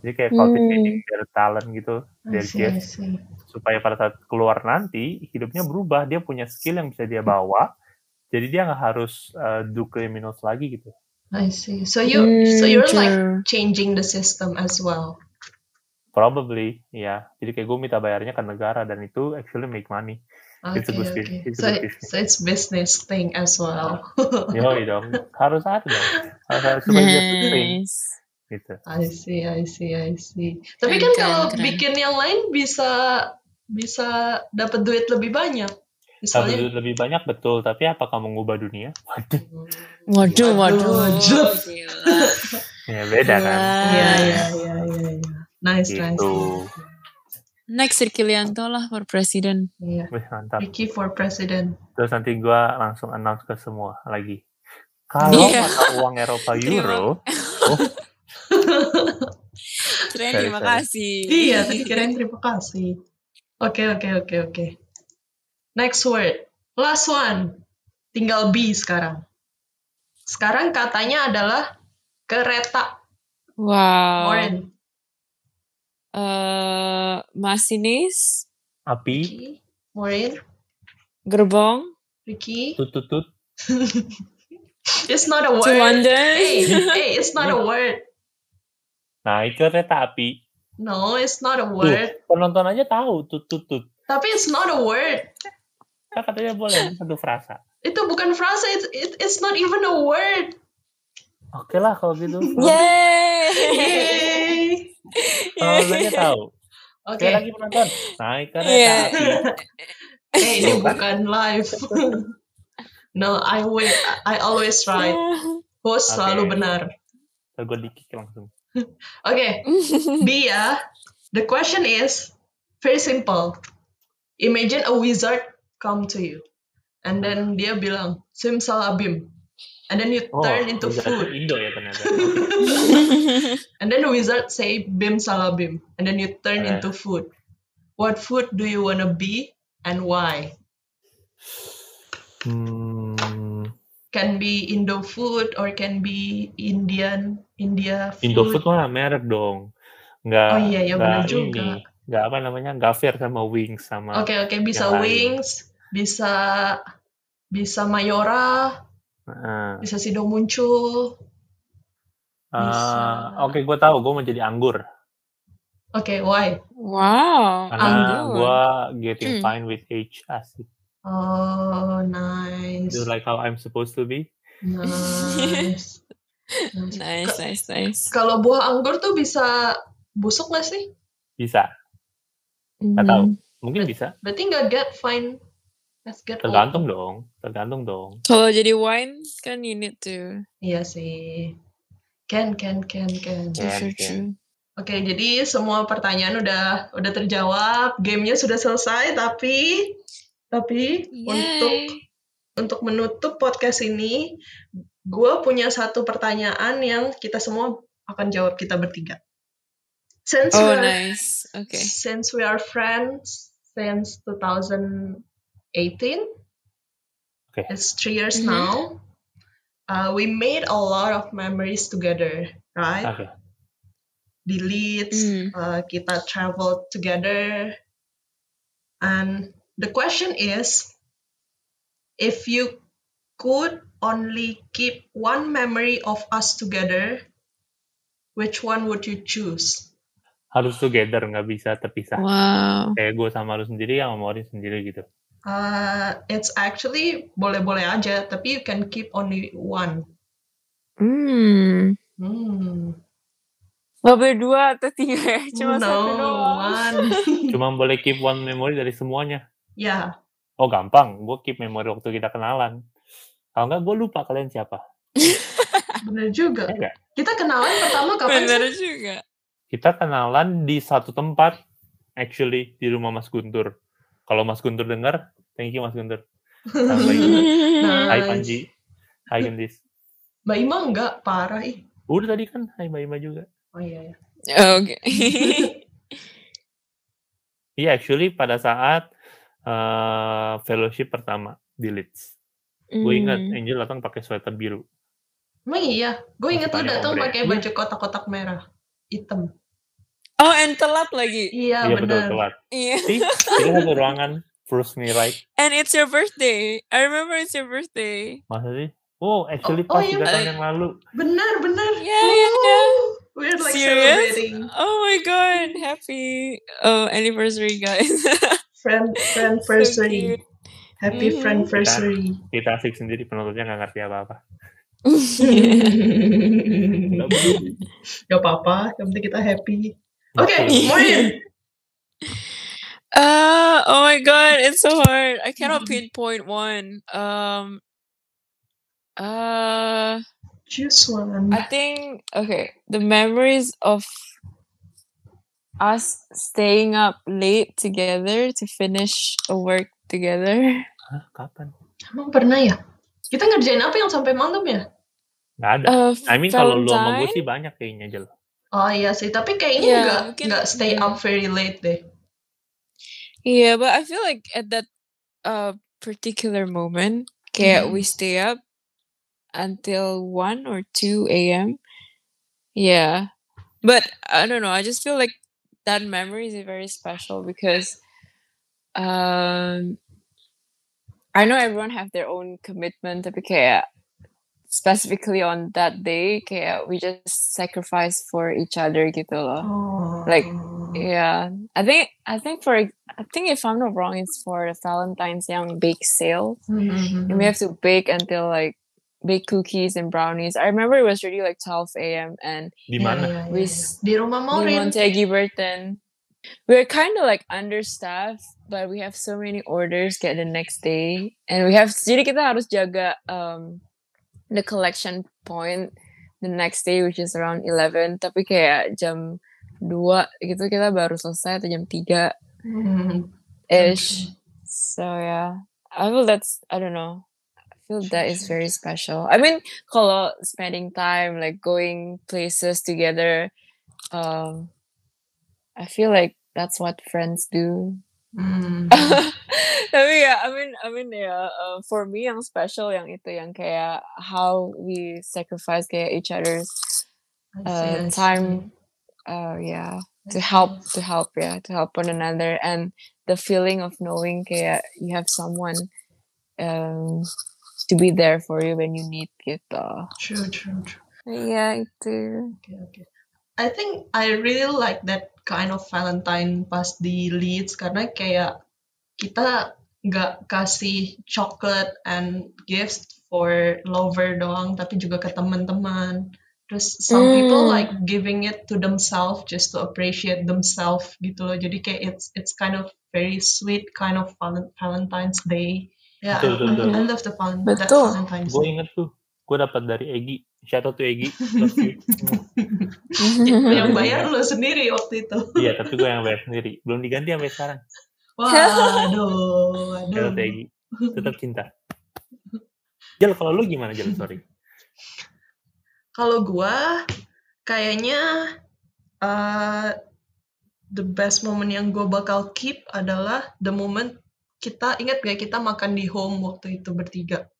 S2: jadi kayak cultivating their talent gitu
S1: I see, I see.
S2: supaya pada saat keluar nanti hidupnya berubah dia punya skill yang bisa dia bawa jadi dia nggak harus eh, do criminals lagi gitu
S1: I see. So you so
S3: Mm,
S1: you're
S3: true.
S1: like changing the system as well.
S2: Probably, ya. Jadi kayak gue minta bayarnya ke negara dan itu actually make money. It's a
S1: Okay,
S2: good
S1: okay.
S2: business. It's a
S1: So
S2: good
S1: it-
S2: business.
S1: so it's business thing as well.
S2: Yoi dong, harus ada dong. Harus ada supaya dia
S3: Nah.
S2: sustain,
S3: Nice.
S2: gitu.
S1: I see, I see, I see. Tapi
S3: Keren,
S1: kan
S3: keren,
S1: kalau
S3: keren.
S1: bikin yang lain bisa bisa dapat duit lebih banyak.
S2: Tapi
S1: Misalnya
S2: lebih banyak betul, tapi apakah mengubah dunia? Waduh,
S3: Waduh, waduh.
S1: Waduh.
S3: Gila.
S2: ya beda kan.
S1: *laughs* Iya, iya,
S3: Gila.
S1: iya, iya, iya. Nice, nice.
S2: Gitu.
S3: Next Sirkilianto lah for presiden.
S1: Iya.
S2: Wih, mantap.
S1: Ricky for president. *laughs*
S2: Terus nanti gue langsung announce ke semua lagi. Kalau
S3: Iya.
S2: mata uang Eropa Euro, Sorry,
S3: Keren, terima
S2: sorry.
S3: kasih.
S1: Iya, tadi kirain terima kasih. Oke, oke, oke, oke. Next word. Last one. Tinggal B sekarang. Sekarang katanya adalah kereta.
S3: Wow.
S1: Oren.
S3: Eh, masinis,
S2: api,
S1: Ricky. Morin.
S3: gerbong,
S1: Ricky. *laughs*
S2: tutut-tut,
S1: It's not a word.
S3: to
S1: Hey,
S3: *laughs* London.
S1: hey, it's not a word.
S2: naik kereta Nah, api.
S1: No, it's not a
S2: Tuh,
S1: word.
S2: penonton aja tahu tutut-tut.
S1: Tapi it's not a word.
S2: Kan katanya boleh satu frasa.
S1: Itu bukan frasa. It's, it, it's not even a word.
S2: Oke lah kalau gitu.
S3: Iya. Yeay.
S1: Yay.
S2: Penontonnya tahu.
S1: Oke.
S2: Saya lagi penonton. Eh. Naik kan ya, kereta
S3: Iya.
S2: api.
S1: Eh, ini
S2: Tuh kan.
S1: bukan live. *laughs* no, I will. I always right. Host
S2: Oke.
S1: selalu benar.
S2: Ntar gue dikik langsung.
S1: Oke, B ya. The question is very simple. Imagine a wizard come to you, and then dia bilang simsalabim, and then
S2: Oh,
S1: you turn into
S2: udah *laughs*
S1: food,
S2: Indo
S1: *laughs*
S2: ya ternyata.
S1: and then the wizard say bim salabim, and then you turn
S2: Eh.
S1: into food. What food do you wanna be and why?
S2: Hmm,
S1: Can be Indo food or can be Indian India food.
S2: Indo food kan? mah merek dong. Nggak,
S1: Oh iya, ya benar
S2: nggak
S1: juga.
S2: ini. Nggak apa namanya, nggak fair sama wings sama
S1: Oke oke bisa
S2: Yang lain.
S1: wings, bisa bisa mayora,
S2: Heeh.
S1: bisa sido muncul. bisa.
S2: Ah, Oke, gue tahu. Gue mau jadi anggur.
S1: Oke, why?
S3: *laughs* wow.
S2: Karena
S3: anggur.
S2: gue getting
S3: Hmm.
S2: fine with age. Asik.
S1: Oh, nice.
S2: Do like how I'm supposed to be.
S1: Nice. Nice.
S3: Nice, nice, nice.
S1: Kalau buah anggur tuh bisa busuk nggak sih?
S2: Bisa.
S3: Nggak
S2: tahu. Mungkin bisa.
S1: Berarti nggak get fine. Let's get old.
S2: Tergantung dong. Tergantung dong.
S3: Kalau jadi wine kan you need to
S1: Iya sih. Can, can, can, can.
S2: Iya,
S3: true,
S2: iya.
S3: true.
S1: Oke, jadi semua pertanyaan udah udah terjawab, gamenya sudah selesai, tapi tapi untuk
S3: Yay.
S1: untuk menutup podcast ini, gue punya satu pertanyaan yang kita semua akan jawab kita bertiga. Since
S3: Oh,
S1: we are,
S3: nice. Okay.
S1: since we are friends since 2018,
S2: Okay.
S1: it's three years
S3: Mhm.
S1: now. uh, we made a lot of memories together, right?
S2: Oke.
S1: Di Leeds,
S3: Mm.
S1: uh, kita travel together, and The question is if you could only keep one memory of us together, which one would you choose?
S2: harus together nggak bisa terpisah
S3: Wow.
S2: kayak gue sama lu sendiri yang sama Orin sendiri gitu
S1: Uh, it's actually boleh-boleh aja, tapi you can keep only one.
S3: Hmm.
S1: Hmm.
S3: Gak berdua atau tiga *laughs* ya? Cuma
S1: no,
S3: satu doang.
S1: one.
S3: *laughs*
S2: cuma boleh keep one memory dari semuanya
S1: yeah.
S2: oh gampang gue keep memory waktu kita kenalan kalau nggak gue lupa kalian siapa
S1: bener juga.
S2: Enggak.
S1: Kita kenalan pertama kapan
S3: Bener
S1: sih? *laughs*
S3: juga.
S2: kita kenalan di satu tempat actually di rumah Mas Guntur kalau Mas Guntur dengar thank you Mas Guntur Tambah ini.
S3: *laughs*
S2: Hai
S1: Nice.
S2: Panji Hai Gendis
S1: *laughs* Mbak Ima enggak, parah ih.
S2: udah tadi kan Hai Mbak Ima juga
S1: Oh iya. iya.
S3: Oke.
S1: *laughs*
S2: iya actually pada saat eh, fellowship pertama di Leeds gue ingat
S3: Hmm.
S2: Angel datang pakai sweater biru
S1: Emang iya, gue inget lu
S2: Masih ya? banyak
S1: datang
S2: ombre.
S1: pakai baju kotak-kotak merah, hitam.
S3: *laughs* Oh, and telat lagi.
S1: Iya
S2: iya betul
S1: bener.
S2: telat
S3: Iya.
S2: sih kita satu ruangan first me right
S3: And it's your birthday. I remember it's your birthday.
S2: masa sih oh actually
S1: Oh,
S2: pas
S1: iya,
S2: tiga tahun
S3: Mbak.
S2: yang lalu
S1: Bener bener.
S3: Yeah, yeah, yeah.
S1: Woo! We're like
S3: Iya, Serious?
S1: celebrating
S3: Oh my god, happy oh anniversary, guys. *laughs*
S1: friend friendversary.
S3: cute.
S1: Happy
S3: Mhm.
S1: friendversary.
S2: kita asik sendiri penontonnya nggak ngerti apa-apa Nggak
S1: *laughs* Gak
S2: peduli.
S1: apa-apa, yang penting kita happy. Oke,
S2: Betul.
S1: Morin.
S3: Uh, oh my god, it's so hard. I cannot pinpoint one. Um uh
S1: Choose one.
S3: I think okay, the memories of us staying up late together to finish a work together. *laughs*
S2: Hah, kapan
S1: Emang pernah ya? Kita ngerjain apa yang sampai malam ya?
S2: nggak ada
S3: Uh,
S2: I mean kalau lu sama gue
S3: Valentine?
S2: sih banyak kayaknya Jel.
S1: Oh iya sih, tapi kayaknya
S3: Iya,
S1: nggak
S3: mungkin-
S1: nggak stay up very late deh.
S3: Yeah, but I feel like at that uh particular moment, kayak we stay up until one or two a.m. Yeah, but I don't know. I just feel like that memory is very special because, um, I know everyone have their own commitment, tapi kayak specifically on that day, kayak we just sacrifice for each other gitu loh.
S1: Oh.
S3: Like, eh, Yeah, I think I think for ex- I think if I'm not wrong, it's for the Valentine's Young bake sale,
S1: Mhm.
S3: and we have to bake until like bake cookies and brownies. I remember it was already like 12 a.m. and
S2: Di
S1: Iya,
S2: mana?
S1: iya, iya, iya.
S3: We s-
S1: Di rumah
S3: we
S1: Morin.
S3: went to Eggy Burton. We are kind of like understaffed, but we have so many orders get the next day, and we have jadi kita harus jaga um the collection point the next day which is around 11 tapi kayak jam 2 gitu kita baru selesai atau jam 3
S1: Mhm.
S3: ish. So yeah, I feel that's I don't know. I feel that is very special. I mean, kalau spending time like going places together, um, I feel like that's what friends do.
S1: Mhm.
S3: *laughs* Tapi ya, I mean, I mean ya, uh, for me yang special yang itu yang kayak how we sacrifice kayak each other's
S1: I see, I
S3: uh,
S1: see.
S3: time uh yeah to help to help yeah to help one another and the feeling of knowing kayak you have someone um to be there for you when you need gitu
S1: True, true, true.
S3: yeah itu
S1: Okay, okay. I think I really like that kind of Valentine pas di Leeds karena kayak kita nggak kasih chocolate and gifts for lover doang tapi juga ke teman-teman. Terus some people
S3: Mm.
S1: like giving it to themselves just to appreciate themselves gitu loh. Jadi kayak it's it's kind of very sweet kind of Valen- Valentine's Day. Yeah,
S2: Betul, betul,
S1: I, I
S3: betul.
S1: love the Valen- that
S3: Betul.
S1: Valentine's
S2: Gue
S1: Day.
S2: inget tuh, gue dapat dari Egi. Shout out to Egi. Love
S1: *laughs*
S2: you.
S3: Mm-hmm. *laughs*
S1: Yang bayar lo sendiri waktu itu.
S2: Iya, tapi gue yang bayar sendiri. Belum diganti sampai sekarang.
S1: Waduh,
S2: Shout out to
S1: aduh.
S2: Egi. Tetap cinta. Jel, kalau lu gimana Jel? Sorry.
S1: Kalau gua kayaknya uh, the best moment yang gua bakal keep adalah the moment kita ingat gak kita makan di home waktu itu bertiga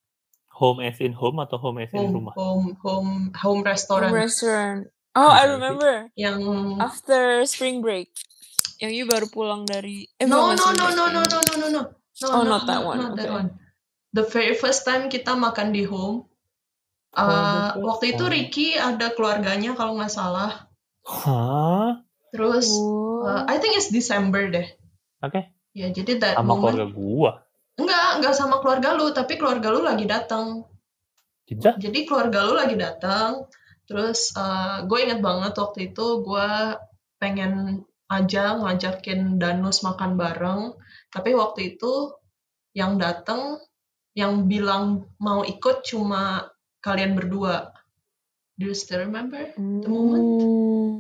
S2: Home as in home atau home as in
S1: home
S2: rumah?
S1: home home home restoran
S3: restaurant oh I
S2: Mhm.
S3: remember
S1: yang
S3: Ah, after spring break yang you baru pulang dari eh,
S1: no no
S3: bukan spring
S1: no no
S3: break, yang-
S1: no no no no no No,
S3: Oh,
S1: no,
S3: not that
S1: no,
S3: one.
S1: Not that
S3: Okay.
S1: one. The very first time kita makan di home,
S2: Oh, the
S1: uh,
S2: first
S1: waktu itu
S2: time.
S1: Ricky ada keluarganya kalau nggak salah.
S2: Hah?
S1: Terus,
S3: Oh.
S1: uh,
S3: Wow.
S1: I think it's December deh.
S2: Oke,
S1: Ya, jadi that
S2: sama
S1: moment.
S2: keluarga gua.
S1: Enggak, enggak sama keluarga lu, tapi keluarga lu lagi datang.
S2: Tidak?
S1: Jadi keluarga lu lagi datang, terus eh, gue inget banget waktu itu gue pengen aja ngajakin Danus makan bareng, tapi waktu itu yang datang, yang bilang mau ikut cuma kalian berdua. Do you still remember? the moment?
S3: Mm.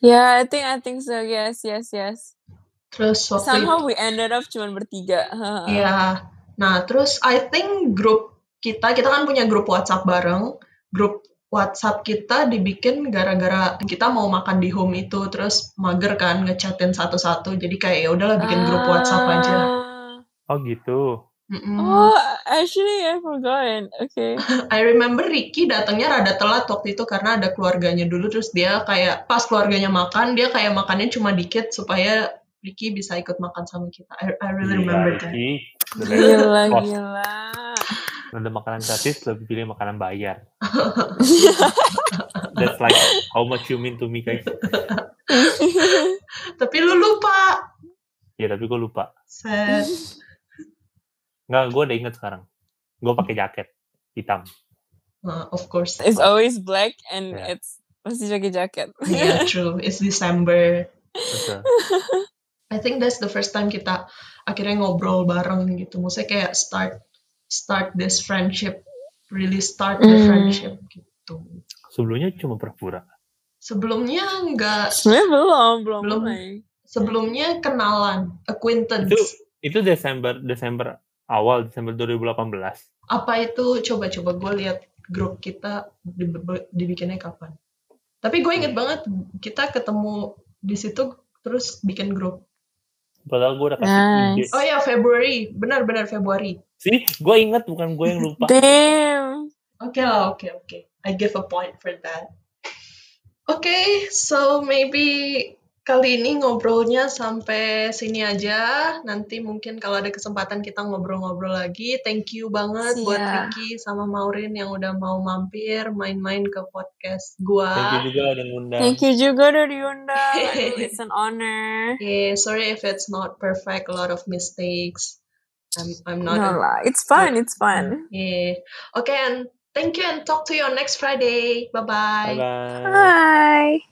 S3: Yeah, I think I think so. Yes, yes, yes.
S1: Terus waktu itu,
S3: Somehow we ended up cuman bertiga. *laughs* Haha.
S1: Iya. Nah, terus I think grup kita, kita kan punya grup WhatsApp bareng. Grup WhatsApp kita dibikin gara-gara kita mau makan di home itu, terus mager kan ngechatin satu-satu. Jadi kayak ya udahlah bikin grup WhatsApp aja.
S3: Ah.
S2: Oh gitu.
S1: Mm-mm.
S3: Oh, actually I forgotten. Okay.
S1: *laughs* I remember Ricky datangnya rada telat waktu itu karena ada keluarganya dulu, terus dia kayak pas keluarganya makan, dia kayak makannya cuma dikit supaya Ricky bisa ikut makan sama kita. I, I really remember
S2: Gila,
S1: that. *laughs*
S2: Ki. Udah-
S3: Gila,
S2: Oh.
S3: gila.
S2: Udah makanan gratis, lebih pilih makanan bayar. That's like how much you mean to me, guys.
S1: Tapi lu lupa.
S2: Ya, tapi gue lupa.
S1: Sad.
S2: Nggak, gue udah inget sekarang. Gue pakai jaket hitam.
S1: Nah, of course.
S3: *laughs* It's always black and
S2: Yeah.
S3: it's masih jacket jacket. *laughs*
S1: Yeah, Iya, true. It's December.
S2: Betul.
S1: I think that's the first time kita akhirnya ngobrol bareng gitu. Maksudnya kayak start start this friendship, really start the
S3: Hmm.
S1: friendship gitu.
S2: Sebelumnya cuma pura-pura.
S1: Sebelumnya enggak,
S3: Sebenarnya belum, belum
S1: Belum.
S3: mulai.
S1: sebelumnya kenalan, acquaintance.
S2: Itu- Itu Desember Desember awal, Desember 2018.
S1: Apa itu? Coba-coba gue lihat grup kita dib- dibikinnya kapan. Tapi gue inget banget kita ketemu di situ terus bikin grup.
S2: Padahal gue udah kasih ide.
S3: Nice.
S1: Oh ya Februari, benar-benar Februari.
S2: Sih, gue inget bukan gue yang lupa.
S3: Damn.
S1: Okay, lah, okay, okay. I give a point for that. Okay, so maybe kali ini ngobrolnya sampai sini aja. Nanti mungkin kalau ada kesempatan kita ngobrol-ngobrol lagi. Thank you banget buat
S3: Iya.
S1: Ricky sama Maurin yang udah mau mampir main-main ke podcast gua.
S2: Thank you juga udah ngundang.
S3: Thank you juga udah
S1: *laughs*
S3: diundang. Aduh, It's an honor.
S1: Yeah, sorry if it's not perfect, a lot of mistakes. I'm I'm not.
S3: No lah, it's fun, it's fun.
S1: Yeah. Okay, and thank you and talk to you on next Friday. Bye-bye.
S2: Bye-bye.
S3: Bye.